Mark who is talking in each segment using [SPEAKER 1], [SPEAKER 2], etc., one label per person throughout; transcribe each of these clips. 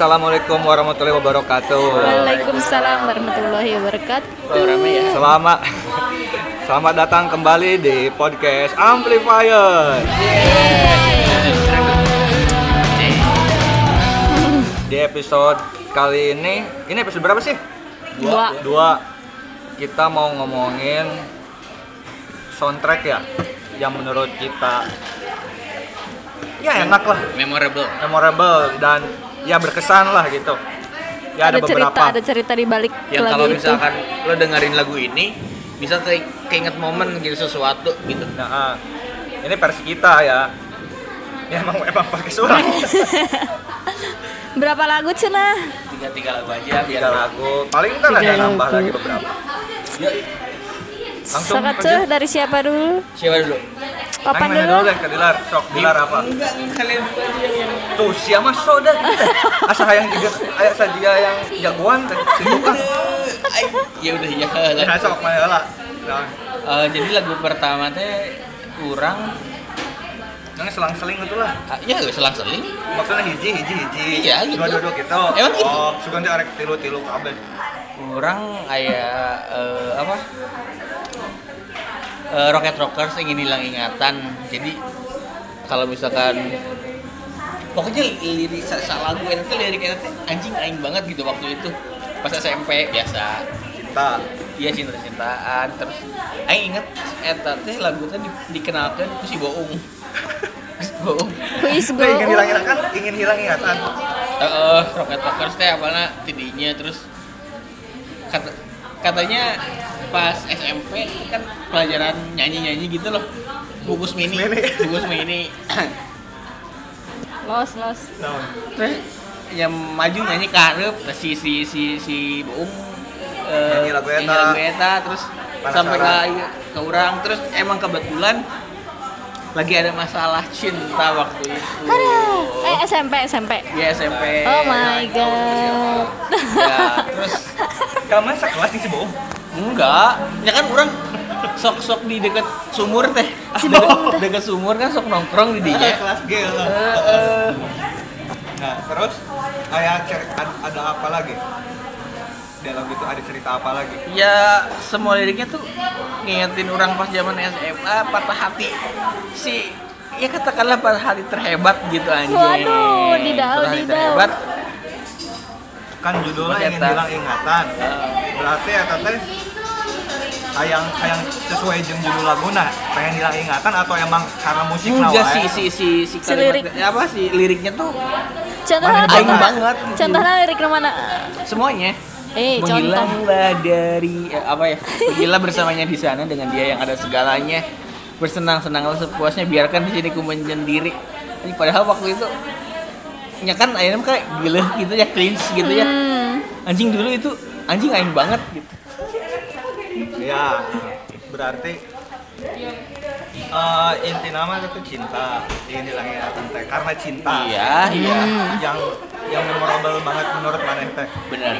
[SPEAKER 1] Assalamualaikum warahmatullahi wabarakatuh.
[SPEAKER 2] Waalaikumsalam ya. warahmatullahi wabarakatuh.
[SPEAKER 1] Selamat Selamat datang kembali di podcast Amplifier. Di episode kali ini, ini episode berapa sih?
[SPEAKER 2] Dua.
[SPEAKER 1] Dua. Kita mau ngomongin soundtrack ya, yang menurut kita ya enak lah,
[SPEAKER 3] memorable
[SPEAKER 1] memorable dan ya berkesan lah gitu. Ya ada,
[SPEAKER 2] ada, cerita,
[SPEAKER 1] beberapa.
[SPEAKER 2] ada cerita di balik
[SPEAKER 3] yang
[SPEAKER 2] lagu
[SPEAKER 3] Ya, kalau
[SPEAKER 2] itu.
[SPEAKER 3] misalkan lo dengerin lagu ini bisa ke keinget momen gitu sesuatu gitu
[SPEAKER 1] Nah, ah. ini versi kita ya. Ya emang emang pakai surat.
[SPEAKER 2] Berapa lagu cina?
[SPEAKER 3] tiga tiga lagu aja biar
[SPEAKER 1] Tiga lagu. Paling kan
[SPEAKER 2] Tiga
[SPEAKER 1] ada nambah
[SPEAKER 2] lagu.
[SPEAKER 1] lagi beberapa. Langsung
[SPEAKER 2] Sangat
[SPEAKER 1] pergi.
[SPEAKER 2] tuh dari siapa dulu?
[SPEAKER 3] siapa dulu
[SPEAKER 2] Papan
[SPEAKER 1] Nanya
[SPEAKER 2] dulu.
[SPEAKER 1] dulu deh ke Dilar, sok Dilar apa?
[SPEAKER 3] enggak kalian dulu aja yang
[SPEAKER 1] Tuh siapa soda kita. Asa hayang juga, ayah saja yang jagoan teh. Si tukang.
[SPEAKER 3] Ay, ya udah ya
[SPEAKER 1] Nah, sok mana lah. Nah,
[SPEAKER 3] Eh, jadi lagu pertama teh kurang
[SPEAKER 1] yang selang-seling itu lah.
[SPEAKER 3] ah, ya gak selang seling
[SPEAKER 1] Maksudnya hiji hiji hiji.
[SPEAKER 3] Iya, gitu.
[SPEAKER 1] Dua-dua gitu.
[SPEAKER 3] Emang gitu?
[SPEAKER 1] Oh, sugan teh arek tilu-tilu kabeh.
[SPEAKER 3] kurang kayak eh, apa Eh, Rocket Rockers ingin hilang ingatan jadi kalau misalkan pokoknya lirik sa- sa lagu itu tuh lirik itu tuh anjing aing banget gitu waktu itu pas SMP biasa
[SPEAKER 1] Cinta.
[SPEAKER 3] dia cinta cintaan terus aing inget eta teh lagu teh di- dikenalkan ku si boong si boong
[SPEAKER 2] Kuis
[SPEAKER 1] Nah,
[SPEAKER 2] go.
[SPEAKER 1] ingin hilang ingatan, ingin hilang ingatan.
[SPEAKER 3] Heeh, Rocket Rockers teh apalna tidinya terus kata, katanya pas SMP kan pelajaran nyanyi-nyanyi gitu loh. Gugus mini,
[SPEAKER 1] Mini.
[SPEAKER 3] gugus mini.
[SPEAKER 2] Los los.
[SPEAKER 1] Nah,
[SPEAKER 3] terus yang maju nyanyi karep si si si si Boong eh,
[SPEAKER 1] Nyanyi lagu eta.
[SPEAKER 3] nyanyi lagu eta, terus
[SPEAKER 1] Panasaran.
[SPEAKER 3] sampai ke ke orang terus emang kebetulan lagi ada masalah cinta waktu itu.
[SPEAKER 2] Hara. Eh SMP SMP.
[SPEAKER 3] Di SMP.
[SPEAKER 2] Oh
[SPEAKER 3] Nah,
[SPEAKER 2] my god.
[SPEAKER 3] Ya, terus
[SPEAKER 1] kamu sekelas sih, Bo.
[SPEAKER 3] Enggak, ya kan orang sok-sok di dekat sumur teh.
[SPEAKER 2] Si
[SPEAKER 3] Deket-
[SPEAKER 2] Bang.
[SPEAKER 3] Deket sumur kan sok nongkrong
[SPEAKER 1] Iya.
[SPEAKER 3] di dinya.
[SPEAKER 1] Kelas G lah.
[SPEAKER 3] Heeh.
[SPEAKER 1] Nah, terus ayah cer- ad- ada apa lagi? Dalam itu ada cerita apa lagi?
[SPEAKER 3] Ya semua liriknya tuh ngingetin orang pas zaman SMA patah hati si ya katakanlah patah hati terhebat gitu anjing.
[SPEAKER 2] Waduh, didau,
[SPEAKER 3] Patah hati
[SPEAKER 2] didau.
[SPEAKER 3] Terhebat.
[SPEAKER 1] Kan judulnya
[SPEAKER 3] Mas
[SPEAKER 1] ingin
[SPEAKER 3] Eta.
[SPEAKER 1] hilang ingatan.
[SPEAKER 3] Heeh.
[SPEAKER 1] Berarti ya teh hayang hayang sesuai jeung judul laguna, pengen hilang ingatan atau emang karena musik
[SPEAKER 3] Enggak
[SPEAKER 1] wae?
[SPEAKER 3] sih si si si
[SPEAKER 2] lirik.
[SPEAKER 3] kalimat apa sih liriknya tuh
[SPEAKER 2] Contohnya
[SPEAKER 1] Mana
[SPEAKER 3] aing
[SPEAKER 1] Contoh.
[SPEAKER 3] banget. gitu.
[SPEAKER 2] contohnya lirik mana?
[SPEAKER 3] semuanya.
[SPEAKER 2] Eh contoh.
[SPEAKER 3] Menghilanglah dari eh, apa ya? Pergilah bersamanya di sana dengan dia yang ada segalanya. Bersenang-senanglah sepuasnya biarkan di sini ku menyendiri. Ini padahal waktu itu ya kan akhirnya kayak gila gitu ya cringe gitu ya.
[SPEAKER 2] Hmm.
[SPEAKER 3] Anjing dulu itu anjing aing banget gitu.
[SPEAKER 1] Ya, berarti eh, inti nama itu cinta ingin hilang ingatan teh karena cinta
[SPEAKER 3] Iya, iya.
[SPEAKER 1] yang yang memorable banget menurut maneh teh
[SPEAKER 3] Benar.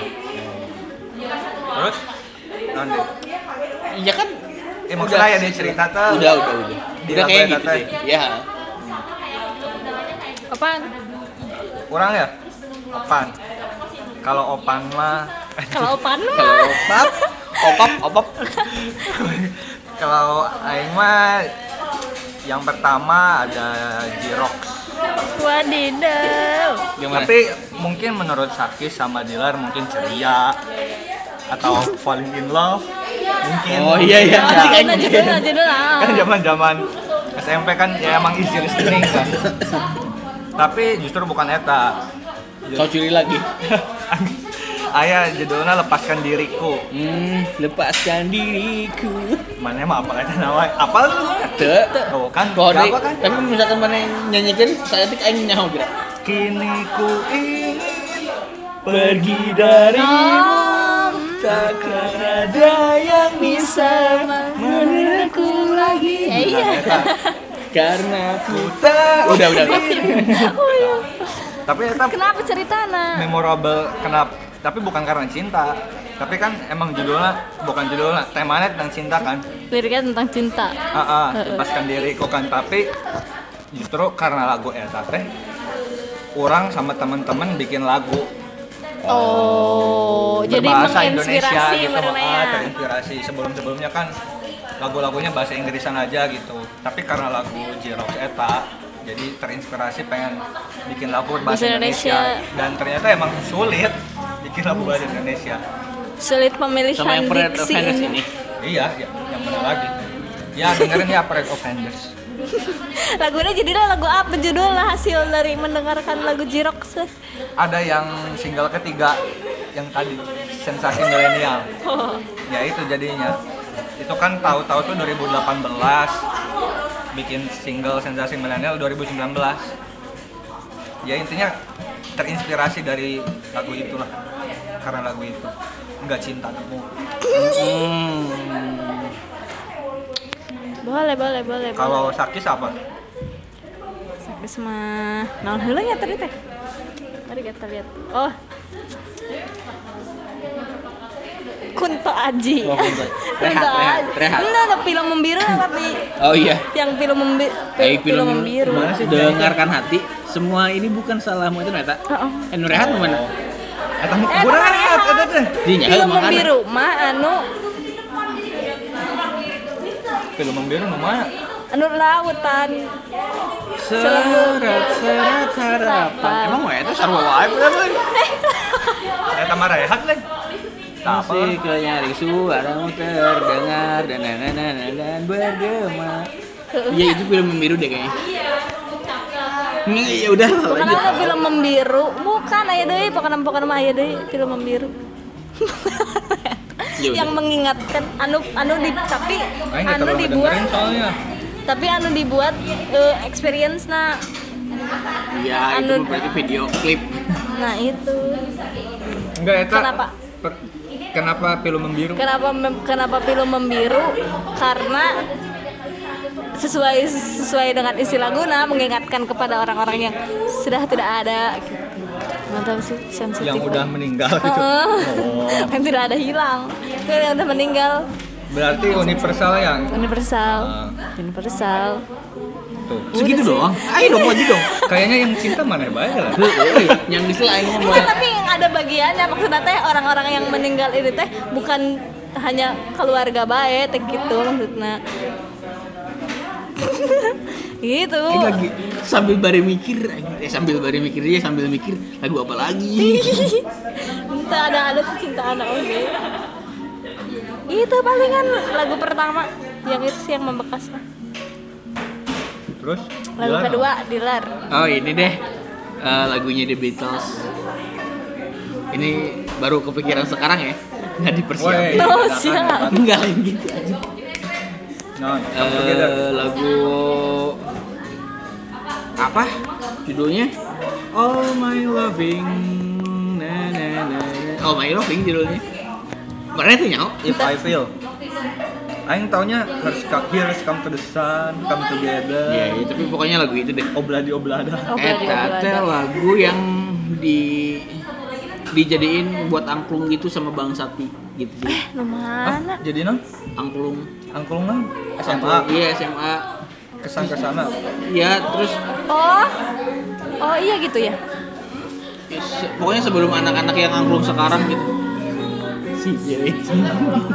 [SPEAKER 1] terus nanti
[SPEAKER 3] Iya kan
[SPEAKER 1] Eh, maksudnya ya dia cerita tuh.
[SPEAKER 3] Udah, udah, udah.
[SPEAKER 1] Dia
[SPEAKER 3] udah kayak
[SPEAKER 1] lakuin
[SPEAKER 3] gitu
[SPEAKER 1] Iya, apa
[SPEAKER 3] deh. Ya.
[SPEAKER 2] Apaan?
[SPEAKER 1] Kurang ya? Opan. Kalau opan mah
[SPEAKER 2] Kalau apaan
[SPEAKER 3] Kalau
[SPEAKER 2] mah?
[SPEAKER 3] opap, opap, opap.
[SPEAKER 1] kalau aing mah yang pertama ada Jirox.
[SPEAKER 2] Wadidaw.
[SPEAKER 3] Gimana?
[SPEAKER 1] Tapi mungkin menurut Sakis sama Dilar mungkin ceria atau falling in love mungkin.
[SPEAKER 3] Oh, iya, iya.
[SPEAKER 1] Ya,
[SPEAKER 2] Lanjut dulu, lanjut dulu. ah.
[SPEAKER 1] kan zaman-zaman SMP kan ya emang easy listening kan. Tapi justru bukan eta.
[SPEAKER 3] Kau curi lagi.
[SPEAKER 1] Ayah judulnya lepaskan diriku.
[SPEAKER 3] Hmm, lepaskan diriku.
[SPEAKER 1] Mana mah apa kata nawa? Apa lu?
[SPEAKER 3] Tuh.
[SPEAKER 1] Tuh kan,
[SPEAKER 3] Kalau
[SPEAKER 1] siapa
[SPEAKER 3] di-
[SPEAKER 1] kan?
[SPEAKER 3] tapi misalkan mana yang nyanyikan, saya tik aing nyaho kira.
[SPEAKER 1] Kini ku ingin
[SPEAKER 3] Pergi dari
[SPEAKER 2] Om
[SPEAKER 3] takkan
[SPEAKER 2] ada yang bisa menenangku lagi. Ya, iya.
[SPEAKER 3] karena aku.
[SPEAKER 1] buta.
[SPEAKER 3] Udah, udah, udah.
[SPEAKER 2] Oh, iya.
[SPEAKER 1] Tapi tetap
[SPEAKER 2] Kenapa ceritana?
[SPEAKER 1] memorable kenapa? Tapi bukan karena cinta. Tapi kan emang judulnya bukan judulnya, temanya tentang cinta kan. Ah,
[SPEAKER 2] Liriknya tentang cinta. Ah.
[SPEAKER 1] Heeh, lepaskan diri kok kan tapi justru karena lagu Eta teh orang sama teman-teman bikin lagu
[SPEAKER 2] Oh, jadi
[SPEAKER 1] berbahasa Indonesia
[SPEAKER 2] menginspirasi
[SPEAKER 1] gitu ah,
[SPEAKER 2] merenaya.
[SPEAKER 1] terinspirasi sebelum sebelumnya kan lagu-lagunya bahasa Inggrisan aja gitu tapi karena lagu Jirox Eta jadi terinspirasi pengen bikin lagu bahasa
[SPEAKER 2] Bahasa Indonesia.
[SPEAKER 1] Indonesia. dan ternyata emang sulit bikin lagu bahasa Indonesia
[SPEAKER 2] Sulit
[SPEAKER 3] sama
[SPEAKER 2] pemilihan
[SPEAKER 3] yang Parade of
[SPEAKER 2] diksi.
[SPEAKER 3] Vendors ini
[SPEAKER 1] iya ya, yang benar lagi ya dengerin ya Parade of Vendors
[SPEAKER 2] Lagunya jadilah lagu apa judul lah hasil dari mendengarkan lagu Jirox.
[SPEAKER 1] ada yang single ketiga yang tadi sensasi milenial
[SPEAKER 2] Oh.
[SPEAKER 1] ya itu jadinya itu kan tahu-tahu tuh 2018 bikin single sensasi milenial 2019 ya intinya terinspirasi dari lagu itulah karena lagu itu nggak cinta kamu Hmm,
[SPEAKER 2] Boleh, boleh, boleh. boleh.
[SPEAKER 1] kalau sakis apa
[SPEAKER 2] Sakis mah naon heula nya tadi teh? Mari kita lihat. Oh. Kunto Aji.
[SPEAKER 3] Oh, Kunto. Rehat,
[SPEAKER 2] Kunto
[SPEAKER 3] rehat,
[SPEAKER 2] Aji.
[SPEAKER 3] rehat.
[SPEAKER 2] Enggak, ada film membiru tapi
[SPEAKER 3] oh iya
[SPEAKER 2] yang film membiru.
[SPEAKER 3] Eh, film,
[SPEAKER 2] membiru.
[SPEAKER 3] Mana sih? dengarkan hati semua ini bukan salahmu itu ternyata
[SPEAKER 2] Heeh.
[SPEAKER 3] eh nu rehat nu mana
[SPEAKER 1] Eta nu
[SPEAKER 2] Eta
[SPEAKER 1] kurat,
[SPEAKER 2] mah
[SPEAKER 1] eta teh.
[SPEAKER 3] Dinya,
[SPEAKER 2] Film
[SPEAKER 3] makanya.
[SPEAKER 2] membiru mah anu
[SPEAKER 1] film membiru nu mana
[SPEAKER 2] anu lautan.
[SPEAKER 3] seret seret sarapan
[SPEAKER 2] Sarapan.
[SPEAKER 3] emang wae itu sarwa wae bener bener
[SPEAKER 1] Eta mah rehat leh apa
[SPEAKER 3] Masih nyari suaramu terdengar dan dan dan dan, dan, dan bergema. Iya itu film membiru deh kayaknya. Nih ya udah
[SPEAKER 2] Bukan
[SPEAKER 3] lanjut.
[SPEAKER 2] ada film membiru, bukan aya deui pokona-pokona mah aya deui film membiru.
[SPEAKER 3] Iya, Ya udah.
[SPEAKER 2] yang mengingatkan anu anu di, tapi
[SPEAKER 1] Aing nggak terlalu
[SPEAKER 2] anu
[SPEAKER 1] dengerin
[SPEAKER 2] dibuat
[SPEAKER 1] soalnya
[SPEAKER 2] tapi anu dibuat eh, experience nah
[SPEAKER 3] Iya itu
[SPEAKER 2] Anu-
[SPEAKER 3] berarti video klip.
[SPEAKER 2] nah itu
[SPEAKER 1] enggak Eta
[SPEAKER 2] Kenapa?
[SPEAKER 1] per- kenapa film membiru
[SPEAKER 2] kenapa mem- kenapa film membiru karena sesuai sesuai dengan isi laguna mengingatkan kepada orang-orang yang sudah tidak ada gitu. mantap sih sensitif
[SPEAKER 1] yang udah meninggal
[SPEAKER 2] Oh.
[SPEAKER 1] gitu
[SPEAKER 2] Heeh. yang tidak ada hilang yang udah meninggal
[SPEAKER 1] berarti universal ya? yang
[SPEAKER 2] universal
[SPEAKER 1] Ah.
[SPEAKER 2] universal
[SPEAKER 1] tuh
[SPEAKER 3] Segitu doang. Ayo dong lanjut dong. iya.
[SPEAKER 1] Kayaknya yang cinta mana ya baik lah.
[SPEAKER 3] Yang disel aing mah
[SPEAKER 2] Iya, tapi ada bagiannya maksudnya teh orang-orang yang meninggal ini teh bukan hanya keluarga bae teh gitu maksudnya. gitu.
[SPEAKER 3] Aing lagi sambil bari mikir, aing- eh sambil bari mikir dia sambil mikir lagu apa lagi.
[SPEAKER 2] Entah ada ada cinta anak oge. Itu palingan lagu pertama yang itu sih yang membekas.
[SPEAKER 1] Terus
[SPEAKER 2] Lagu
[SPEAKER 1] jalan
[SPEAKER 2] kedua Dilar.
[SPEAKER 3] Oh ini deh eh, lagunya The Beatles. Ini baru kepikiran sekarang ya,
[SPEAKER 1] apa?
[SPEAKER 3] nggak
[SPEAKER 1] Woi,
[SPEAKER 3] dipersiapkan.
[SPEAKER 2] Tuh,
[SPEAKER 1] silakan,
[SPEAKER 2] Oh, siap.
[SPEAKER 1] silakan.
[SPEAKER 3] Enggak lain gitu aja.
[SPEAKER 1] Nah, come together.
[SPEAKER 3] Eh, lagu apa judulnya? All My Loving. Na, na, na, na. All Oh, My Loving judulnya. Mana itu nyau?
[SPEAKER 1] If I feel Aing taunya harus come, here's come to the sun, come
[SPEAKER 3] Ya,
[SPEAKER 1] together,
[SPEAKER 3] ya, tapi pokoknya lagu itu deh.
[SPEAKER 1] obladi oblada.
[SPEAKER 2] Oh, berarti
[SPEAKER 3] Eta
[SPEAKER 2] lagu
[SPEAKER 3] teh
[SPEAKER 2] ada.
[SPEAKER 3] lagu yang di dijadiin buat angklung gitu sama Bang Sakti gitu.
[SPEAKER 2] Eh, nu mana?
[SPEAKER 1] Jadi non,
[SPEAKER 3] Angklung.
[SPEAKER 1] angklung non,
[SPEAKER 3] Angklung,
[SPEAKER 1] SMA
[SPEAKER 3] Iya, SMA.
[SPEAKER 1] kesan kesana.
[SPEAKER 3] Ya, terus
[SPEAKER 2] Oh. Oh iya gitu ya.
[SPEAKER 3] Ya, se- pokoknya sebelum anak-anak yang angklung sekarang gitu si
[SPEAKER 1] iya,
[SPEAKER 3] cewek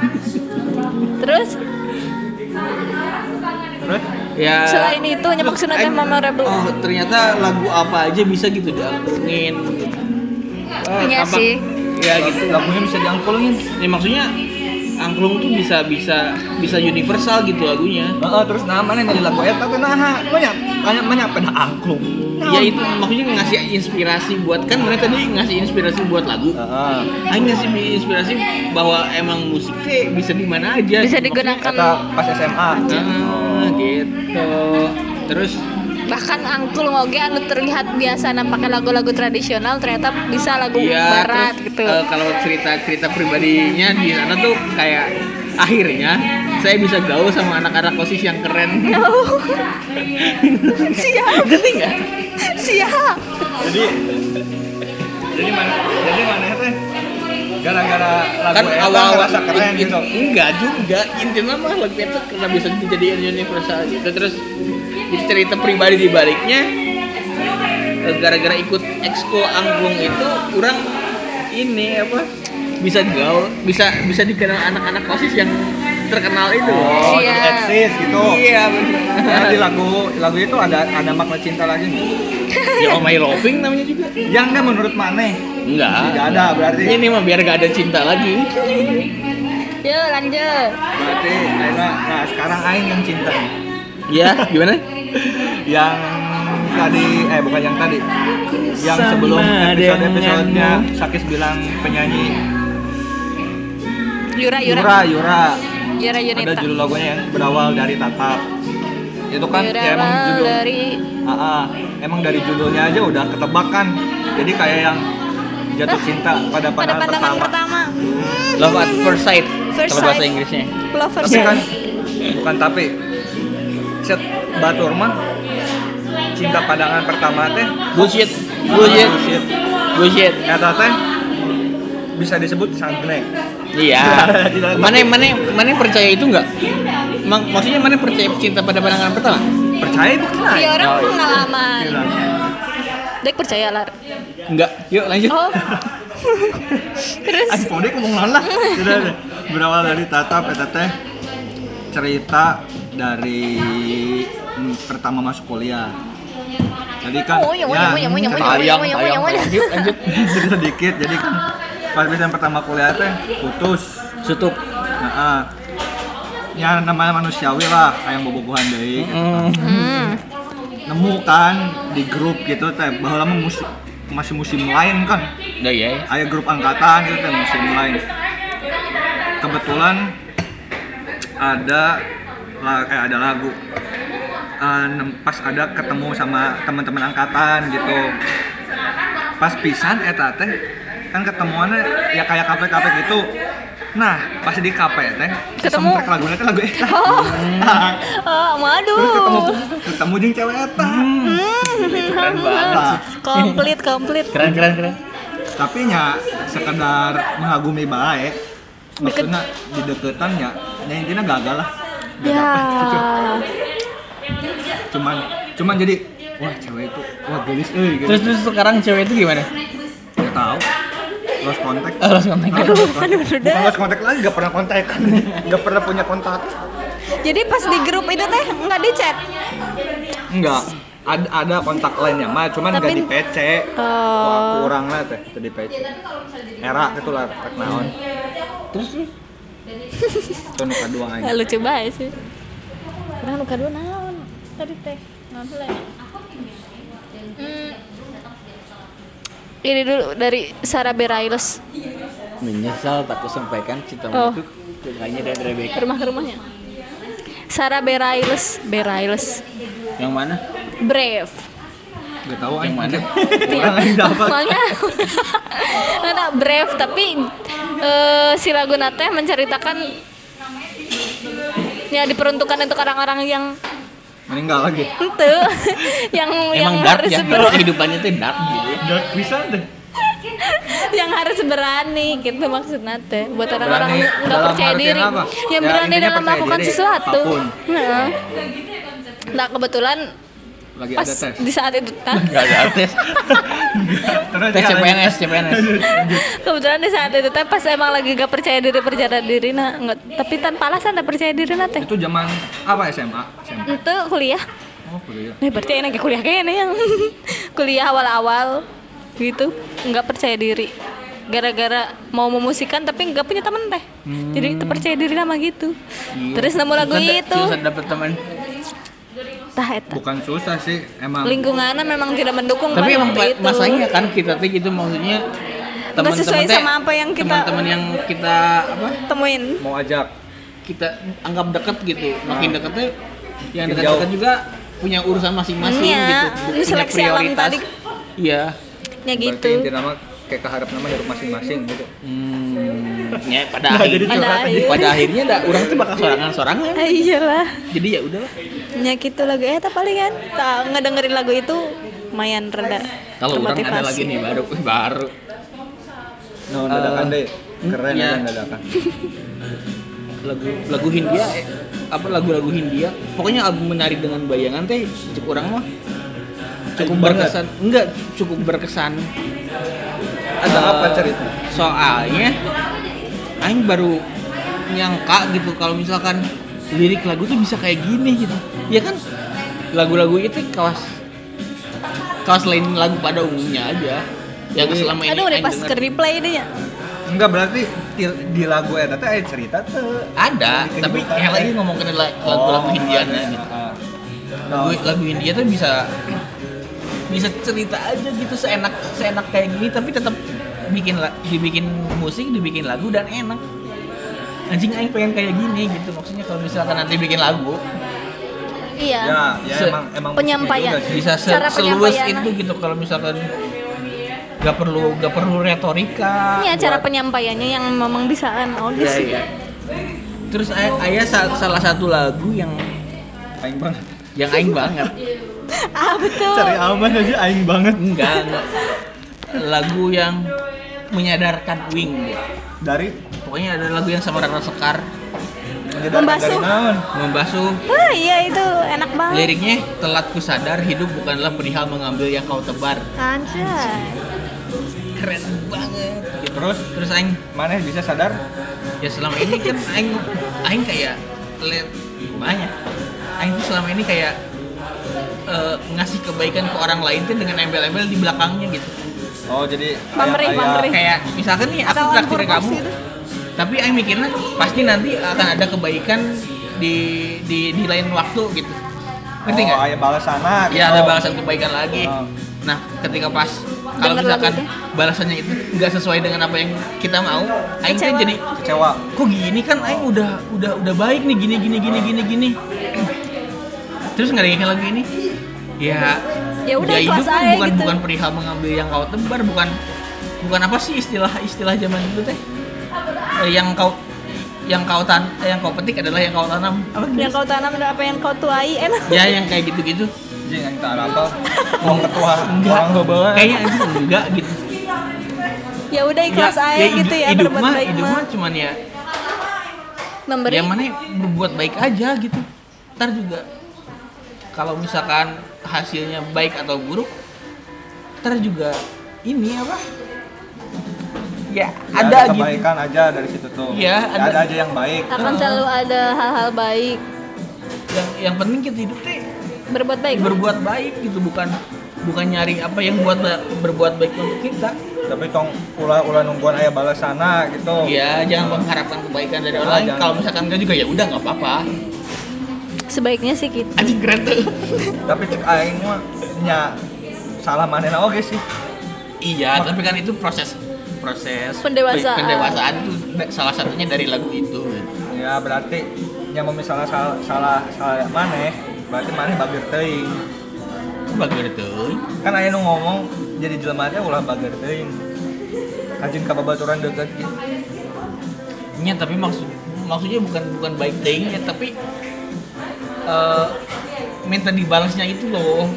[SPEAKER 2] Terus
[SPEAKER 1] Terus
[SPEAKER 3] ya
[SPEAKER 2] Selain itu, nya
[SPEAKER 3] terus
[SPEAKER 2] maksudnya teh
[SPEAKER 3] aing-
[SPEAKER 2] memorable.
[SPEAKER 3] oh ternyata lagu apa aja bisa gitu diangklungin Oh,
[SPEAKER 2] Iya
[SPEAKER 3] tampak-
[SPEAKER 2] sih.
[SPEAKER 3] ya gitu
[SPEAKER 1] lagunya bisa diangklungin.
[SPEAKER 3] ya maksudnya angklung tuh bisa bisa bisa universal gitu lagunya
[SPEAKER 1] Heeh, terus namanya nyari lagu eta teh naha? Banyak, banyak, banyak pada angklung. Nah.
[SPEAKER 2] Oh.
[SPEAKER 3] ya itu maksudnya ngasih inspirasi buat kan mereka tadi ngasih inspirasi buat lagu
[SPEAKER 1] Heeh.
[SPEAKER 3] Aing ngasih inspirasi bahwa emang musik teh bisa di mana aja
[SPEAKER 2] bisa
[SPEAKER 3] Maksudnya-
[SPEAKER 1] Eta
[SPEAKER 2] digunakan
[SPEAKER 1] pas SMA.
[SPEAKER 3] Ah, gitu terus
[SPEAKER 2] bahkan angklung oge anu terlihat biasa nah pakai lagu-lagu tradisional ternyata bisa lagu
[SPEAKER 3] Iya,
[SPEAKER 2] barat
[SPEAKER 3] terus
[SPEAKER 2] gitu.
[SPEAKER 3] eh, kalau cerita-cerita pribadinya di sana tuh kayak akhirnya saya bisa gaul sama anak-anak OSIS yang keren.
[SPEAKER 2] Iya, siap
[SPEAKER 3] Ngerti nggak?
[SPEAKER 2] siap
[SPEAKER 1] jadi jadi mana jadi mana teh gara-gara lagu
[SPEAKER 3] Kan
[SPEAKER 1] Eta
[SPEAKER 3] awal-awal
[SPEAKER 1] ngerasa keren
[SPEAKER 3] in- in-
[SPEAKER 1] gitu
[SPEAKER 3] Enggak juga, intinya mah lagu itu karena bisa dijadikan universal gitu. Terus cerita pribadi di baliknya eh, gara-gara ikut ekskul angklung itu orang ini apa bisa gaul bisa bisa dikenal anak-anak kosis yang terkenal itu
[SPEAKER 1] Oh,
[SPEAKER 2] Iya.
[SPEAKER 1] jadi eksis gitu.
[SPEAKER 3] iya
[SPEAKER 1] Karena di
[SPEAKER 3] benar
[SPEAKER 1] lagu lagu itu ada ada makna cinta lagi nih.
[SPEAKER 3] ya oh my loving namanya juga
[SPEAKER 1] Ya enggak menurut Maneh.
[SPEAKER 3] enggak
[SPEAKER 1] Tidak ada berarti.
[SPEAKER 3] ini mah biar gak ada cinta lagi
[SPEAKER 2] Yuk lanjut.
[SPEAKER 1] Berarti Aina, nah sekarang Ain yang cinta nih.
[SPEAKER 3] ya gimana
[SPEAKER 1] Yang tadi eh bukan yang tadi. Yang
[SPEAKER 3] Sama
[SPEAKER 1] sebelum episode-episodenya
[SPEAKER 3] denganmu.
[SPEAKER 1] Sakis bilang penyanyi
[SPEAKER 2] Yura Ah, Yura.
[SPEAKER 1] Yura Yura. Ada
[SPEAKER 2] Yura Yunita.
[SPEAKER 1] judul lagunya yang berawal dari tatap. Itu kan
[SPEAKER 2] Yura
[SPEAKER 1] ya emang
[SPEAKER 2] Lau
[SPEAKER 1] judul
[SPEAKER 2] dari
[SPEAKER 1] Aa, emang dari judulnya aja udah ketebakan. Jadi kayak yang jatuh cinta pada
[SPEAKER 2] pada
[SPEAKER 1] pandangan,
[SPEAKER 2] pandangan
[SPEAKER 1] pertama.
[SPEAKER 2] pertama.
[SPEAKER 3] love at first sight
[SPEAKER 2] First
[SPEAKER 3] kalau bahasa
[SPEAKER 2] sight.
[SPEAKER 3] Inggrisnya
[SPEAKER 2] Lovers.
[SPEAKER 1] Tapi kan bukan tapi set batur mah cinta pandangan pertama teh
[SPEAKER 3] bullshit bullshit
[SPEAKER 1] bullshit.
[SPEAKER 3] bullshit
[SPEAKER 1] Kata teh bisa disebut sangne.
[SPEAKER 3] Iya. mana mana mana yang percaya itu enggak? Mak- maksudnya mana yang percaya cinta pada pandangan pertama?
[SPEAKER 1] Percaya bukti lah.
[SPEAKER 2] Dia orang
[SPEAKER 3] Oh, iya.
[SPEAKER 2] pengalaman. Dek percaya lah.
[SPEAKER 3] Enggak. Yuk
[SPEAKER 1] Iya.
[SPEAKER 3] lanjut.
[SPEAKER 2] Oh. Terus
[SPEAKER 1] Aduh, ngomong naon lah. Sudah, sudah. Berawal dari tatap eta teh cerita dari mm, pertama masuk kuliah. Jadi kan
[SPEAKER 2] Oh, iya, iya, iya, iya, iya.
[SPEAKER 3] Tayang,
[SPEAKER 2] Yang-
[SPEAKER 3] tayang,
[SPEAKER 2] yang-
[SPEAKER 3] tayang. Yuk lanjut.
[SPEAKER 1] cerita sedikit. Jadi kan pas yang pertama kuliah teh putus.
[SPEAKER 3] Tutup.
[SPEAKER 1] Nah, ah. ya namanya manusiawi lah, kayak bobogohan deui. gitu.
[SPEAKER 3] Mm.
[SPEAKER 2] hmm.
[SPEAKER 1] Nemu kan di grup gitu teh, bahwa lama musim masih musim lain kan.
[SPEAKER 3] Udah ya. ya.
[SPEAKER 1] Ada grup angkatan gitu teh musim lain. Kebetulan ada la- eh ada lagu Eh, nem- pas ada ketemu sama teman-teman angkatan gitu pas pisan eta teh kan ketemuannya ya kayak kafe-kafe gitu nah pas di kafe teh
[SPEAKER 2] Ketemu.
[SPEAKER 1] kesemprek lagunya teh lagu eta
[SPEAKER 2] Oh.
[SPEAKER 1] Nah,
[SPEAKER 2] Oh,
[SPEAKER 1] terus ketemu
[SPEAKER 2] waduh. Hmm.
[SPEAKER 1] ketemu jeung cewek eta
[SPEAKER 3] Keren banget.
[SPEAKER 1] Nah,
[SPEAKER 2] Komplit, komplit.
[SPEAKER 3] Keren keren keren.
[SPEAKER 1] tapi nya sekedar mengagumi bae maksudnya di deketan ya ya intinya gagal lah Gak
[SPEAKER 2] Ya.
[SPEAKER 1] dapet. cuman cuman jadi wah cewek itu wah gelis eh gitu
[SPEAKER 3] Terus terus sekarang cewek itu gimana?
[SPEAKER 1] nggak tahu lost contact
[SPEAKER 3] Oh, lost contact.
[SPEAKER 1] Bukan lost
[SPEAKER 2] aduh,
[SPEAKER 1] contact.
[SPEAKER 2] udah.
[SPEAKER 1] Bukan lost contact lagi nggak pernah kontak nggak pernah punya kontak
[SPEAKER 2] Jadi pas di grup itu teh nggak di chat.
[SPEAKER 1] enggak ada ada kontak lainnya mah cuman nggak
[SPEAKER 2] Tapi-
[SPEAKER 1] di PC Wah,
[SPEAKER 2] Oh.
[SPEAKER 1] kurang lah teh itu di PC era itu lah rek naon
[SPEAKER 3] Terus terus.
[SPEAKER 1] itu nu kedua aja
[SPEAKER 2] Ya, lucu banget sih. Karena luka dua naon tadi teh naon heula ya? Hmm. Ini dulu dari Sarah Berailes
[SPEAKER 3] Menyesal tak kusampaikan cinta
[SPEAKER 2] Oh.
[SPEAKER 3] itu hanya dari Rebecca.
[SPEAKER 2] rumah ke rumahnya. Sarah Berailes, Berailes,
[SPEAKER 3] Yang mana?
[SPEAKER 2] Brave.
[SPEAKER 1] nggak tahu aja
[SPEAKER 3] Yang mana?
[SPEAKER 1] kurang aja dapat
[SPEAKER 2] Iya. Soalnya nggak brave tapi eh, si lagu Nate menceritakan ya diperuntukkan untuk orang-orang yang
[SPEAKER 1] meninggal lagi
[SPEAKER 2] itu yang yang
[SPEAKER 3] Emang dark
[SPEAKER 2] harus
[SPEAKER 3] ya.
[SPEAKER 2] ber-
[SPEAKER 3] Kehidupannya tuh dark gitu. ya.
[SPEAKER 1] nggak bisa deh
[SPEAKER 2] yang harus berani gitu maksudnya teh buat
[SPEAKER 1] Berani
[SPEAKER 2] orang-orang yang nggak
[SPEAKER 1] dalam
[SPEAKER 2] percaya
[SPEAKER 1] artian
[SPEAKER 2] diri
[SPEAKER 1] apa?
[SPEAKER 2] yang
[SPEAKER 1] Ya,
[SPEAKER 2] berani
[SPEAKER 1] intinya
[SPEAKER 2] dalam
[SPEAKER 1] percaya
[SPEAKER 2] melakukan
[SPEAKER 1] diri,
[SPEAKER 2] sesuatu
[SPEAKER 1] apapun.
[SPEAKER 2] nah. nah kebetulan
[SPEAKER 1] lagi
[SPEAKER 2] pas
[SPEAKER 1] ada tes
[SPEAKER 2] di saat itu nah,
[SPEAKER 3] Gak ada tes.
[SPEAKER 1] terus
[SPEAKER 3] Tes
[SPEAKER 1] dia lagi-
[SPEAKER 3] CPNS, CPNS.
[SPEAKER 2] kebetulan di saat itu teh pas emang lagi gak percaya diri percaya diri nah nggak- tapi tanpa alasan gak percaya diri nah teh
[SPEAKER 1] itu zaman apa SMA SMA
[SPEAKER 2] itu kuliah
[SPEAKER 1] oh kuliah
[SPEAKER 2] nah berarti enak kuliah kayaknya yang kuliah awal-awal gitu nggak percaya diri gara-gara mau memusikan tapi nggak punya temen teh jadi
[SPEAKER 3] Hmm.
[SPEAKER 2] itu percaya diri nama gitu
[SPEAKER 3] Iya.
[SPEAKER 2] terus nemu lagu
[SPEAKER 3] Susah-
[SPEAKER 2] itu
[SPEAKER 3] Susah dapet teman.
[SPEAKER 2] tah eta
[SPEAKER 1] bukan susah sih emang
[SPEAKER 2] lingkungannya memang tidak mendukung kan
[SPEAKER 3] tapi emang
[SPEAKER 2] waktu itu
[SPEAKER 3] masanya kan kita tuh gitu maksudnya teman-teman
[SPEAKER 2] sesuai
[SPEAKER 3] teh-
[SPEAKER 2] sama apa yang kita-
[SPEAKER 3] teman-teman yang kita apa
[SPEAKER 2] temuin
[SPEAKER 1] mau ajak
[SPEAKER 3] kita anggap dekat gitu makin dekatnya yang
[SPEAKER 1] Makin
[SPEAKER 3] dekat-dekat
[SPEAKER 1] jauh.
[SPEAKER 3] juga punya urusan masing-masing
[SPEAKER 2] Iya,
[SPEAKER 3] gitu
[SPEAKER 2] ini seleksi alam tadi.
[SPEAKER 3] iya
[SPEAKER 2] ya gitu
[SPEAKER 1] berarti inti nama kayak keharap nama hidup masing-masing gitu
[SPEAKER 3] hmm, ya, pada
[SPEAKER 1] Nah, jadi
[SPEAKER 3] akhirnya
[SPEAKER 2] Pada curhat aja.
[SPEAKER 3] pada akhirnya dah orang tuh bakal sorangan-sorangan
[SPEAKER 2] ah, iyalah
[SPEAKER 3] jadi ya udahlah
[SPEAKER 2] ya gitu lagu eta palingan tak ngedengerin lagu itu lumayan reda
[SPEAKER 3] kalau orang ada
[SPEAKER 2] termotivasi.
[SPEAKER 3] lagi nih baru baru
[SPEAKER 1] no dadakan
[SPEAKER 3] Eh,
[SPEAKER 1] deh keren
[SPEAKER 3] iya.
[SPEAKER 1] kan dadakan
[SPEAKER 3] lagu lagu Hindia eh, apa lagu-lagu Hindia pokoknya album menarik dengan bayangan teh cek orang mah cukup
[SPEAKER 4] banget.
[SPEAKER 3] berkesan enggak cukup berkesan
[SPEAKER 1] Ada
[SPEAKER 3] Eh,
[SPEAKER 1] apa cerita?
[SPEAKER 3] soalnya Aing baru nyangka gitu kalau misalkan lirik lagu tuh bisa kayak gini gitu ya kan lagu-lagu itu kawas kawas lain lagu pada umumnya aja yang selama ini
[SPEAKER 2] Aduh, udah
[SPEAKER 3] Aing
[SPEAKER 2] pas
[SPEAKER 3] denger.
[SPEAKER 2] ke replay deh ya.
[SPEAKER 1] Enggak berarti di, di lagu eta teh aya cerita tuh.
[SPEAKER 3] ada
[SPEAKER 1] Di
[SPEAKER 3] tapi
[SPEAKER 1] kehidupan
[SPEAKER 3] kayak lagi
[SPEAKER 1] teh.
[SPEAKER 3] ngomongin la- lagu-lagu
[SPEAKER 1] Oh,
[SPEAKER 3] Hindia
[SPEAKER 1] ada.
[SPEAKER 3] gitu
[SPEAKER 1] Ah.
[SPEAKER 3] lagu, lagu India tuh bisa bisa cerita aja gitu seenak seenak kayak gini tapi tetap bikin la- dibikin musik dibikin lagu dan enak anjing aing pengen kayak gini gitu maksudnya kalau misalkan nanti bikin lagu
[SPEAKER 2] Iya.
[SPEAKER 1] Ya, ya
[SPEAKER 3] Se-
[SPEAKER 1] emang emang
[SPEAKER 2] Penyampaian.
[SPEAKER 1] musiknya juga sih.
[SPEAKER 3] bisa se-
[SPEAKER 2] Cara
[SPEAKER 3] seluas
[SPEAKER 2] penyampaian.
[SPEAKER 3] itu gitu kalau misalkan gak perlu gak perlu retorika
[SPEAKER 2] Ini acara
[SPEAKER 3] buat-
[SPEAKER 2] penyampaiannya yang memang bisaan audio
[SPEAKER 3] Iya,
[SPEAKER 2] sih.
[SPEAKER 3] iya. terus a- ayah sa- salah satu lagu yang
[SPEAKER 1] Aing banget.
[SPEAKER 3] yang aing banget
[SPEAKER 2] Ah, betul.
[SPEAKER 4] Cari aman aja aing banget
[SPEAKER 1] Hmm.
[SPEAKER 3] enggak enggak lagu yang menyadarkan wing gitu.
[SPEAKER 4] dari
[SPEAKER 3] pokoknya ada lagu yang sama Rara Sekar
[SPEAKER 1] Menyedarkan
[SPEAKER 2] Membasuh.
[SPEAKER 1] dari naon?
[SPEAKER 3] membasuh
[SPEAKER 2] Wah, iya itu enak banget.
[SPEAKER 3] liriknya telat ku sadar hidup bukanlah perihal mengambil yang kau tebar
[SPEAKER 2] Anjay.
[SPEAKER 3] keren banget gitu.
[SPEAKER 1] Terus
[SPEAKER 3] terus aing
[SPEAKER 1] mana bisa sadar?
[SPEAKER 3] ya selama ini kan aing aing kayak lihat banyak aing tuh selama ini kayak eh, ngasih kebaikan ke orang lain tuh dengan embel-embel di belakangnya gitu
[SPEAKER 1] Oh, jadi
[SPEAKER 2] Pamrih,
[SPEAKER 1] aya- aya-
[SPEAKER 2] pamrih.
[SPEAKER 3] kayak misalkan nih aku
[SPEAKER 2] Atau
[SPEAKER 3] traktir kamu
[SPEAKER 2] korporasi itu.
[SPEAKER 3] tapi aing mikirnya pasti nanti akan ada kebaikan di di di lain waktu gitu ngerti nggak
[SPEAKER 1] Oh, aya balasana.
[SPEAKER 3] ya
[SPEAKER 1] gitu.
[SPEAKER 3] ada balasan kebaikan lagi
[SPEAKER 1] Oh.
[SPEAKER 3] nah ketika pas kalau
[SPEAKER 2] Dengar
[SPEAKER 3] misalkan
[SPEAKER 2] lagunya.
[SPEAKER 3] balasannya itu nggak sesuai dengan apa yang kita mau aing tuh
[SPEAKER 2] Kecewa.
[SPEAKER 3] jadi
[SPEAKER 1] kecewa.
[SPEAKER 3] kok gini kan aing udah udah udah baik nih gini gini gini gini gini terus ngedengerin lagu ini ya
[SPEAKER 2] Ya udah,
[SPEAKER 3] hidup
[SPEAKER 2] ikhlas
[SPEAKER 3] kan
[SPEAKER 2] aja
[SPEAKER 3] bukan
[SPEAKER 2] gitu.
[SPEAKER 3] bukan perihal mengambil yang kau tebar bukan bukan apa sih istilah istilah zaman dulu teh Eh, yang kau yang kau tan eh, yang kau petik adalah yang kau tanam apa gitu?
[SPEAKER 2] Yang kau tanam dan apa yang kau tuai eh, enak.
[SPEAKER 3] ya yang kayak gitu gitu
[SPEAKER 1] Jing aing tak apa. Wong ketua orang heubeuh.
[SPEAKER 3] kayaknya itu enggak gitu
[SPEAKER 2] Ya udah ikhlas
[SPEAKER 3] Enggak,
[SPEAKER 2] aja gitu ya
[SPEAKER 3] Iya. hidup
[SPEAKER 2] berbuat
[SPEAKER 3] mah
[SPEAKER 2] baik
[SPEAKER 3] hidup
[SPEAKER 2] mah.
[SPEAKER 3] mah cuman ya
[SPEAKER 2] Memberi.
[SPEAKER 3] ya mana ya, berbuat baik aja gitu ntar juga kalau misalkan hasilnya baik atau buruk ntar juga ini apa ya
[SPEAKER 1] Ya,
[SPEAKER 3] ada, gitu
[SPEAKER 1] kebaikan aja dari situ tuh.
[SPEAKER 3] Iya,
[SPEAKER 1] Ya,
[SPEAKER 3] ada.
[SPEAKER 1] ada. aja yang baik.
[SPEAKER 2] Akan selalu ada hal-hal baik.
[SPEAKER 3] yang yang penting kita hidup teh
[SPEAKER 2] Berbuat baik.
[SPEAKER 3] berbuat baik gitu bukan bukan nyari apa yang buat ba- berbuat baik untuk kita
[SPEAKER 1] Tapi tong ulah-ulah nungguan aya balasana gitu.
[SPEAKER 3] ya jangan mengharapkan kebaikan dari orang lain
[SPEAKER 1] Jangan.
[SPEAKER 3] kalau misalkan enggak juga ya udah nggak apa-apa
[SPEAKER 2] Sebaiknya sih gitu.
[SPEAKER 3] anjing keren tuh
[SPEAKER 1] Tapi cek aing mah nya salah manena oge sih.
[SPEAKER 3] Iya, tapi kan itu proses proses
[SPEAKER 2] Pendewasaan.
[SPEAKER 3] pendewasaan itu salah satunya dari lagu itu.
[SPEAKER 1] Ya berarti yang mau misalnya salah salah salah maneh, berarti maneh babir teuing.
[SPEAKER 3] Bagus itu.
[SPEAKER 1] Kan aya nu ngomong jadi jelema teh ulah bageur teuing. Kajin ka babaturan deukeut gitu.
[SPEAKER 3] Iya, tapi maksud maksudnya bukan bukan baik thing ya, tapi eh minta dibalasnya itu loh.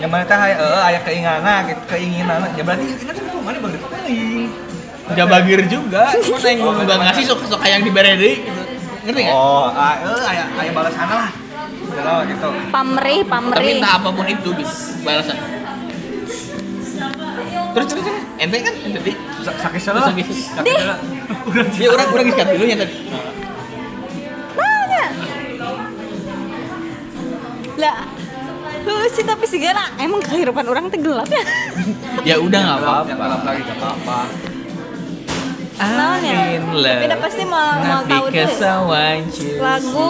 [SPEAKER 1] Yang mana teh aya eh, aya keinginan gitu, keinginan. Ya berarti ingat itu maneh bageur teuing.
[SPEAKER 3] Gak bagir juga, cuma yang nggak ngasih sok sok yang diberi deui gitu. Ngerti nggak?
[SPEAKER 1] Oh, ah, eh, aya aya balasana lah. Kalau gitu.
[SPEAKER 2] Pamrih,
[SPEAKER 3] Tapi
[SPEAKER 2] pamrih.
[SPEAKER 3] entah apapun itu gitu, balasan. Terus terus terus, ente kan ente di.
[SPEAKER 1] Sa- Sakit salah.
[SPEAKER 3] Sakit.
[SPEAKER 1] Sakit salah. Urang
[SPEAKER 3] Dia orang orang iskat dulu ya tadi.
[SPEAKER 2] Banyak. Lah, lu sih tapi segala emang kehidupan orang teh gelap ya.
[SPEAKER 3] Ya udah nggak
[SPEAKER 1] Yang
[SPEAKER 3] apa-apa.
[SPEAKER 1] gelap lagi gak apa-apa.
[SPEAKER 2] Naon ya? Tapi udah pasti mau mau tahu tuh lagu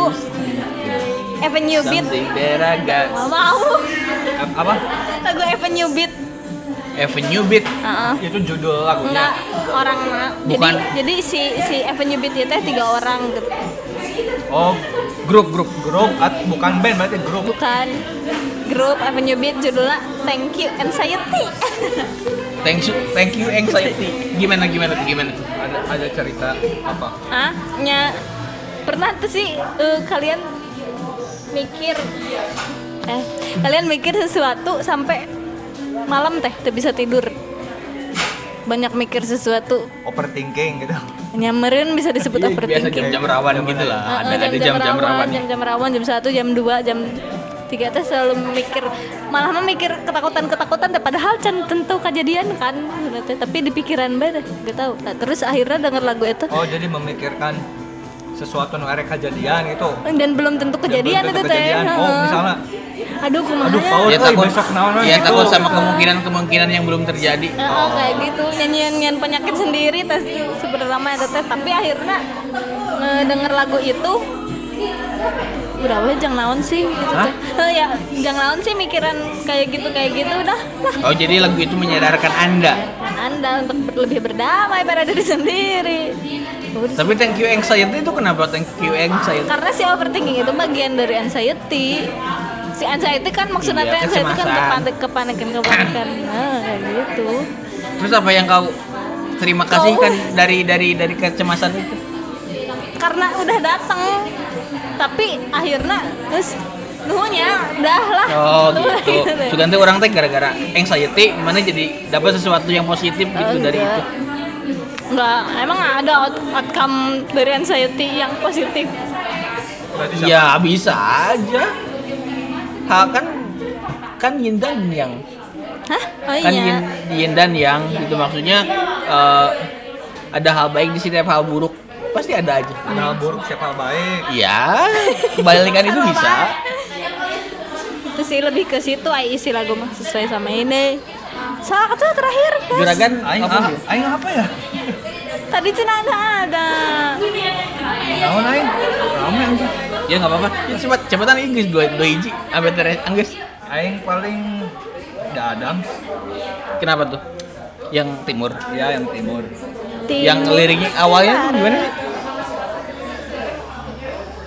[SPEAKER 2] Avenue Beat. Mau
[SPEAKER 1] Ap- Apa?
[SPEAKER 2] lagu Avenue Beat.
[SPEAKER 3] Avenue Beat
[SPEAKER 2] Heeh.
[SPEAKER 1] Ya, Itu judul lagunya.
[SPEAKER 2] Enggak orang mah. Jadi
[SPEAKER 3] Bukan.
[SPEAKER 2] jadi si si Avenue Beat itu tiga orang gitu.
[SPEAKER 1] Oh, grup grup grup at- bukan band berarti grup.
[SPEAKER 2] Bukan grup Avenue Beat judulnya Thank You Anxiety.
[SPEAKER 3] Thank you, thank you anxiety Gimana, gimana, tuh, gimana tuh?
[SPEAKER 1] Ada ada cerita apa?
[SPEAKER 2] ah nya pernah tuh sih eh, kalian mikir eh kalian mikir sesuatu sampai malam teh tuh bisa tidur banyak mikir sesuatu
[SPEAKER 1] Overthinking gitu.
[SPEAKER 2] nyamerin bisa disebut
[SPEAKER 3] Iya, Biasa
[SPEAKER 2] overthinking
[SPEAKER 3] jam-jam rawan gitu lah
[SPEAKER 2] Heeh, Iya,
[SPEAKER 3] Ada ada jam-jam rawan
[SPEAKER 2] jam-jam rawan jam satu jam 2 jam 3 tiga teh selalu mikir malah memikir ketakutan ketakutan teh padahal can tentu kejadian kan bener teh. tapi di pikiran bae teh gak tahu Nah, terus akhirnya denger lagu itu
[SPEAKER 1] oh jadi memikirkan sesuatu yang erek kejadian gitu
[SPEAKER 2] dan belum tentu kejadian
[SPEAKER 1] tentu
[SPEAKER 2] itu teh
[SPEAKER 1] kejadian. Oh,
[SPEAKER 2] Heeh.
[SPEAKER 1] misalnya,
[SPEAKER 2] aduh kumaha
[SPEAKER 1] aduh,
[SPEAKER 2] ya?
[SPEAKER 1] Paul. Oh,
[SPEAKER 3] dia
[SPEAKER 1] eh,
[SPEAKER 3] takut
[SPEAKER 1] besok naon, eh,
[SPEAKER 3] dia
[SPEAKER 1] gitu.
[SPEAKER 3] takut sama kemungkinan-kemungkinan yang belum terjadi
[SPEAKER 2] Heeh, kayak gitu nyanyian penyakit sendiri tes sebenarnya mah eta teh tapi akhirnya denger lagu itu udah weh jang naon sih gitu
[SPEAKER 1] Hah?
[SPEAKER 2] teh. Heh, ya jang naon sih mikiran kayak gitu kayak gitu udah lah
[SPEAKER 3] oh jadi lagu itu menyadarkan anda
[SPEAKER 2] Dan anda untuk ber- lebih berdamai pada diri sendiri Udah.
[SPEAKER 3] tapi thank you anxiety itu kenapa thank you anxiety
[SPEAKER 2] karena si overthinking itu bagian dari anxiety si anxiety kan maksudnya
[SPEAKER 3] Iya,
[SPEAKER 2] teh anxiety kan
[SPEAKER 3] kecemasan.
[SPEAKER 2] kepanik kepanikan kepanikan nah kayak gitu
[SPEAKER 3] terus apa yang kau terima kasih kan dari dari dari kecemasan itu
[SPEAKER 2] karena udah datang tapi akhirnya terus nuhunya dah lah
[SPEAKER 3] Oh
[SPEAKER 2] Udah
[SPEAKER 3] gitu.
[SPEAKER 2] deh.
[SPEAKER 3] Sugan teh orang teh gara-gara anxiety mana jadi dapat sesuatu yang positif
[SPEAKER 2] Oh,
[SPEAKER 3] gitu dari itu.
[SPEAKER 2] enggak. enggak emang ada out- outcome dari anxiety yang positif
[SPEAKER 1] berarti siapa?
[SPEAKER 3] Ya bisa aja. Ha kan kan yin dan yang
[SPEAKER 2] hah oh
[SPEAKER 3] kan yin,
[SPEAKER 2] iya
[SPEAKER 3] yin dan yang gitu maksudnya eh, ada hal baik di setiap hal buruk pasti ada aja.
[SPEAKER 1] Ada hal buruk siapa hal baik
[SPEAKER 3] Iya, kebalikan itu bisa.
[SPEAKER 2] terus sih lebih ke situ ay isi lagu mah sesuai sama ini salah satu terakhir guys.
[SPEAKER 3] Juragan
[SPEAKER 1] aing
[SPEAKER 3] apa
[SPEAKER 1] ah-
[SPEAKER 3] sih?
[SPEAKER 1] aing apa ya
[SPEAKER 2] tadi cina nggak ada
[SPEAKER 1] naon aing rame anjing
[SPEAKER 3] Ya nggak apa-apa. Ya, Cepat cepetan Inggris dua dua hiji. Ambil teres Inggris.
[SPEAKER 1] aing paling ya Adam
[SPEAKER 3] Kenapa tuh? Yang timur.
[SPEAKER 1] ya yang timur
[SPEAKER 3] yang liriknya awalnya tuh gimana sih?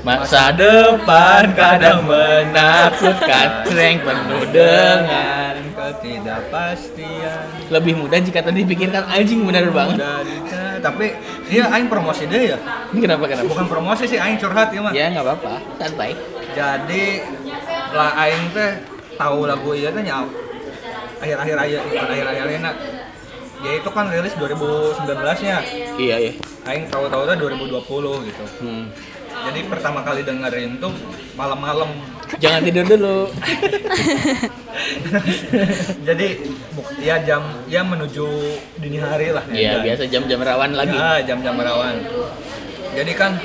[SPEAKER 3] Masa depan kadang menakutkan, sering penuh dengan
[SPEAKER 1] dengan ketidakpastian
[SPEAKER 3] lebih mudah jika tadi dipikirkan anjing benar banget.
[SPEAKER 1] dan tapi iya aing promosi deh ya
[SPEAKER 3] Kenapa kenapa?
[SPEAKER 1] bukan promosi sih aing curhat ya mah
[SPEAKER 3] Ya nggak apa-apa, santai.
[SPEAKER 1] jadi lah aing teh tahu lagu iya teh nyaw akhir-akhir aja bukan akhir-akhir enak ya itu kan rilis 2019 nya
[SPEAKER 3] Iya iya.
[SPEAKER 1] ya. aing tahu-tahu teh 2020 gitu
[SPEAKER 3] Hmm.
[SPEAKER 1] jadi pertama kali dengerin tuh malam-malam
[SPEAKER 3] Jangan tidur dulu.
[SPEAKER 1] jadi buk- ya jam ya menuju dini hari lah
[SPEAKER 3] Iya biasa jam-jam rawan lagi.
[SPEAKER 1] ya, jam-jam rawan jadi kan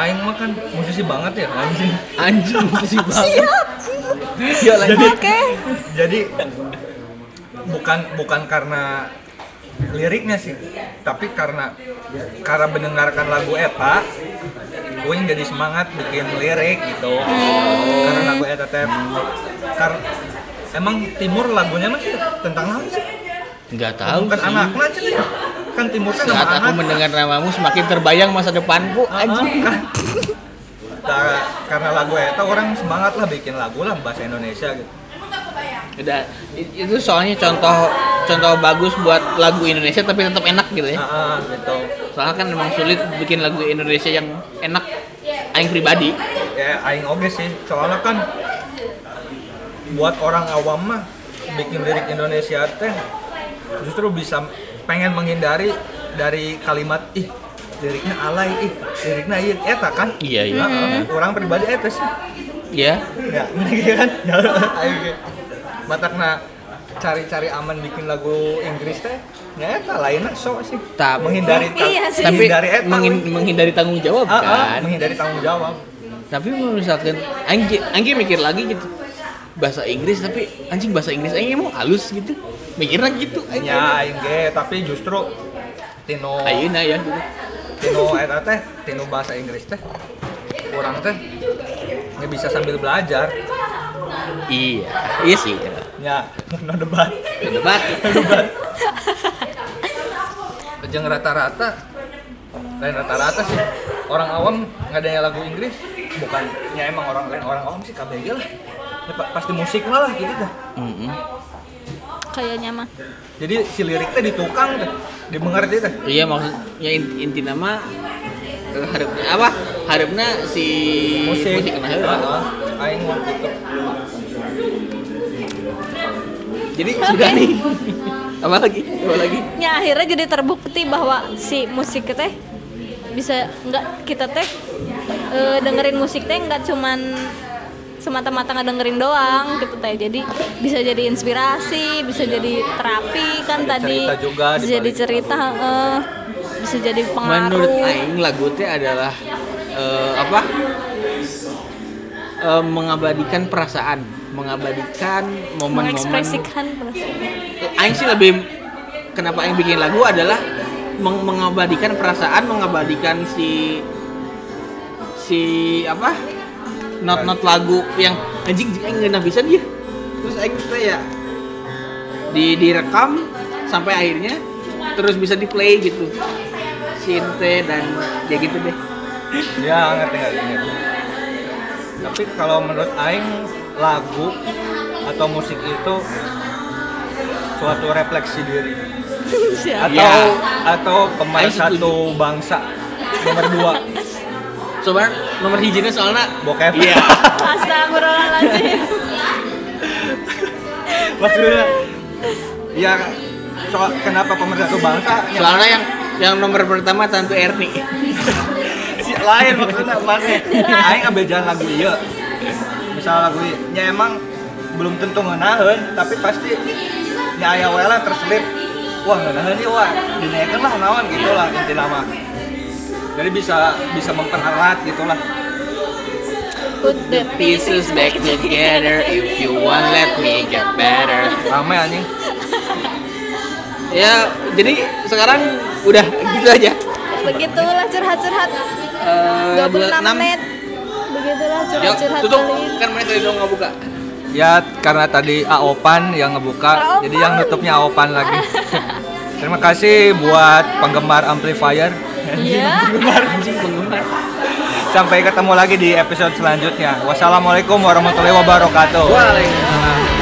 [SPEAKER 1] aing mah kan musisi banget ya anjing
[SPEAKER 3] Anjing sih banget. Ya lanjut.
[SPEAKER 2] oke
[SPEAKER 1] jadi bukan bukan karena liriknya sih tapi karena karena mendengarkan lagu eta gue yang jadi semangat bikin lirik gitu karena lagu eta teh kar- emang timur lagunya masih tentang apa sih
[SPEAKER 3] Nggak tahu
[SPEAKER 1] bukan
[SPEAKER 3] sih.
[SPEAKER 1] anak lah cuy. kan timur kan
[SPEAKER 3] Saat
[SPEAKER 1] nama
[SPEAKER 3] aku
[SPEAKER 1] anak
[SPEAKER 3] mendengar namamu semakin terbayang masa depanku anjing.
[SPEAKER 1] Kan. Nah, karena lagu eta orang semangat lah bikin lagu lah bahasa Indonesia gitu
[SPEAKER 3] Udah, i- itu soalnya contoh contoh bagus buat lagu Indonesia tapi tetap enak gitu ya.
[SPEAKER 1] Ah, ah, gitu
[SPEAKER 3] Soalnya kan emang sulit bikin lagu Indonesia yang enak aing pribadi.
[SPEAKER 1] ya aing oge sih soalnya kan buat orang awam mah bikin lirik Indonesia teh justru bisa pengen menghindari dari kalimat ih liriknya alay ih liriknya iya eta kan
[SPEAKER 3] Iya, iya.
[SPEAKER 1] Heeh. orang pribadi eta sih
[SPEAKER 3] Ya,
[SPEAKER 1] ya gitu kan ya ayo ge matakna cari-cari aman bikin lagu Inggris teh ya eta lainnya sok sih
[SPEAKER 3] Tap-
[SPEAKER 1] menghindari ta-
[SPEAKER 2] Iya sih.
[SPEAKER 3] tapi
[SPEAKER 1] menghindari eta
[SPEAKER 3] mengin-
[SPEAKER 1] we.
[SPEAKER 3] menghindari tanggung jawab
[SPEAKER 1] Ah, ah,
[SPEAKER 3] kan.
[SPEAKER 1] menghindari tanggung jawab
[SPEAKER 3] Tapi mau misalkan aing ki- aing ki mikir lagi gitu. Bahasa Inggris tapi anjing bahasa Inggris aing emang halus gitu. Mikirnya gitu aing.
[SPEAKER 1] Ya, aing ge, tapi justru tino
[SPEAKER 3] Ayeuna ya gitu.
[SPEAKER 1] tino eta teh, tino bahasa Inggris teh kurang teh nggak bisa sambil belajar.
[SPEAKER 3] Iya, iya sih.
[SPEAKER 1] Ya, no debat.
[SPEAKER 3] Debat.
[SPEAKER 1] Jeung rata-rata lain rata-rata sih orang awam ngadanya lagu Inggris bukannya emang orang lain orang awam sih KBG lah Ya, pa- pasti musik malah gitu teh
[SPEAKER 3] Mm-mm.
[SPEAKER 2] kayaknya mah
[SPEAKER 1] jadi si liriknya ditukang teh dimengerti teh
[SPEAKER 3] Iya maksud ya in- inti nama eh, harapna apa harapna si
[SPEAKER 1] musik
[SPEAKER 3] musik kena heula.
[SPEAKER 1] Heeh, aing waktu itu
[SPEAKER 3] Jadi sudah nih. apa lagi? Apa lagi?
[SPEAKER 2] ya akhirnya jadi terbukti bahwa si musik teh bisa nggak kita teh eh, dengerin musik teh nggak cuman semata-mata ngedengerin doang gitu teh jadi bisa jadi inspirasi bisa
[SPEAKER 3] Iya.
[SPEAKER 2] jadi terapi kan
[SPEAKER 1] Ada
[SPEAKER 2] tadi
[SPEAKER 1] cerita juga di
[SPEAKER 2] bisa jadi
[SPEAKER 1] balik
[SPEAKER 2] cerita eh, bisa jadi pengaruh
[SPEAKER 3] menurut Aing lagu teh adalah eh, apa Eh, mengabadikan perasaan mengabadikan momen-momen
[SPEAKER 2] mengekspresikan perasaan.
[SPEAKER 3] Aing sih lebih kenapa Aing bikin lagu adalah meng- mengabadikan perasaan mengabadikan si si apa not not lagu yang anjing anjing Aing nggak bisa dia terus Aing tuh ya di direkam sampai akhirnya terus bisa di play gitu Sinte dan ya gitu deh
[SPEAKER 1] Ya ngerti ngerti. ngerti. Tapi kalau menurut Aing lagu atau musik itu suatu refleksi diri atau
[SPEAKER 2] Siap.
[SPEAKER 3] Ya.
[SPEAKER 1] atau pemain
[SPEAKER 3] Aing setuju.
[SPEAKER 1] satu bangsa nomor dua
[SPEAKER 3] soalnya nomor hijinya soalnya
[SPEAKER 1] bokep.
[SPEAKER 3] Iya.
[SPEAKER 2] Astagfirullahaladzim.
[SPEAKER 1] Maksudnya ya soal kenapa pemersatu bangsa ya,
[SPEAKER 3] soalnya yang yang nomor pertama tentu Erni
[SPEAKER 1] si lain maksudnya mana aing ngambil jalan lagu iya misal lagu ieu nya emang belum tentu ngeunaheun tapi pasti nya aya wae lah terselip wah ngeunaheun ieu wah dinaikeun lah naon gitu lah intina mah jadi bisa bisa mempererat gitu lah
[SPEAKER 2] Put the
[SPEAKER 3] pieces back together if you want let me get better
[SPEAKER 1] rame anjing
[SPEAKER 3] ya jadi sekarang udah gitu aja
[SPEAKER 2] Begitulah curhat-curhat.
[SPEAKER 3] Eh,
[SPEAKER 2] 26
[SPEAKER 3] 26.
[SPEAKER 2] menit. Begitulah
[SPEAKER 3] Yuk,
[SPEAKER 2] curhat-curhat
[SPEAKER 3] tutup
[SPEAKER 2] kali ini.
[SPEAKER 3] kan menit tadi dong nggak buka
[SPEAKER 1] ya karena tadi Aopan yang ngebuka
[SPEAKER 2] Aopan.
[SPEAKER 1] jadi yang nutupnya Aopan lagi terima kasih buat penggemar amplifier
[SPEAKER 2] Iya.
[SPEAKER 3] penggemar anjing penggemar
[SPEAKER 1] sampai ketemu lagi di episode selanjutnya wassalamualaikum warahmatullahi wabarakatuh
[SPEAKER 3] Waalaikumsalam.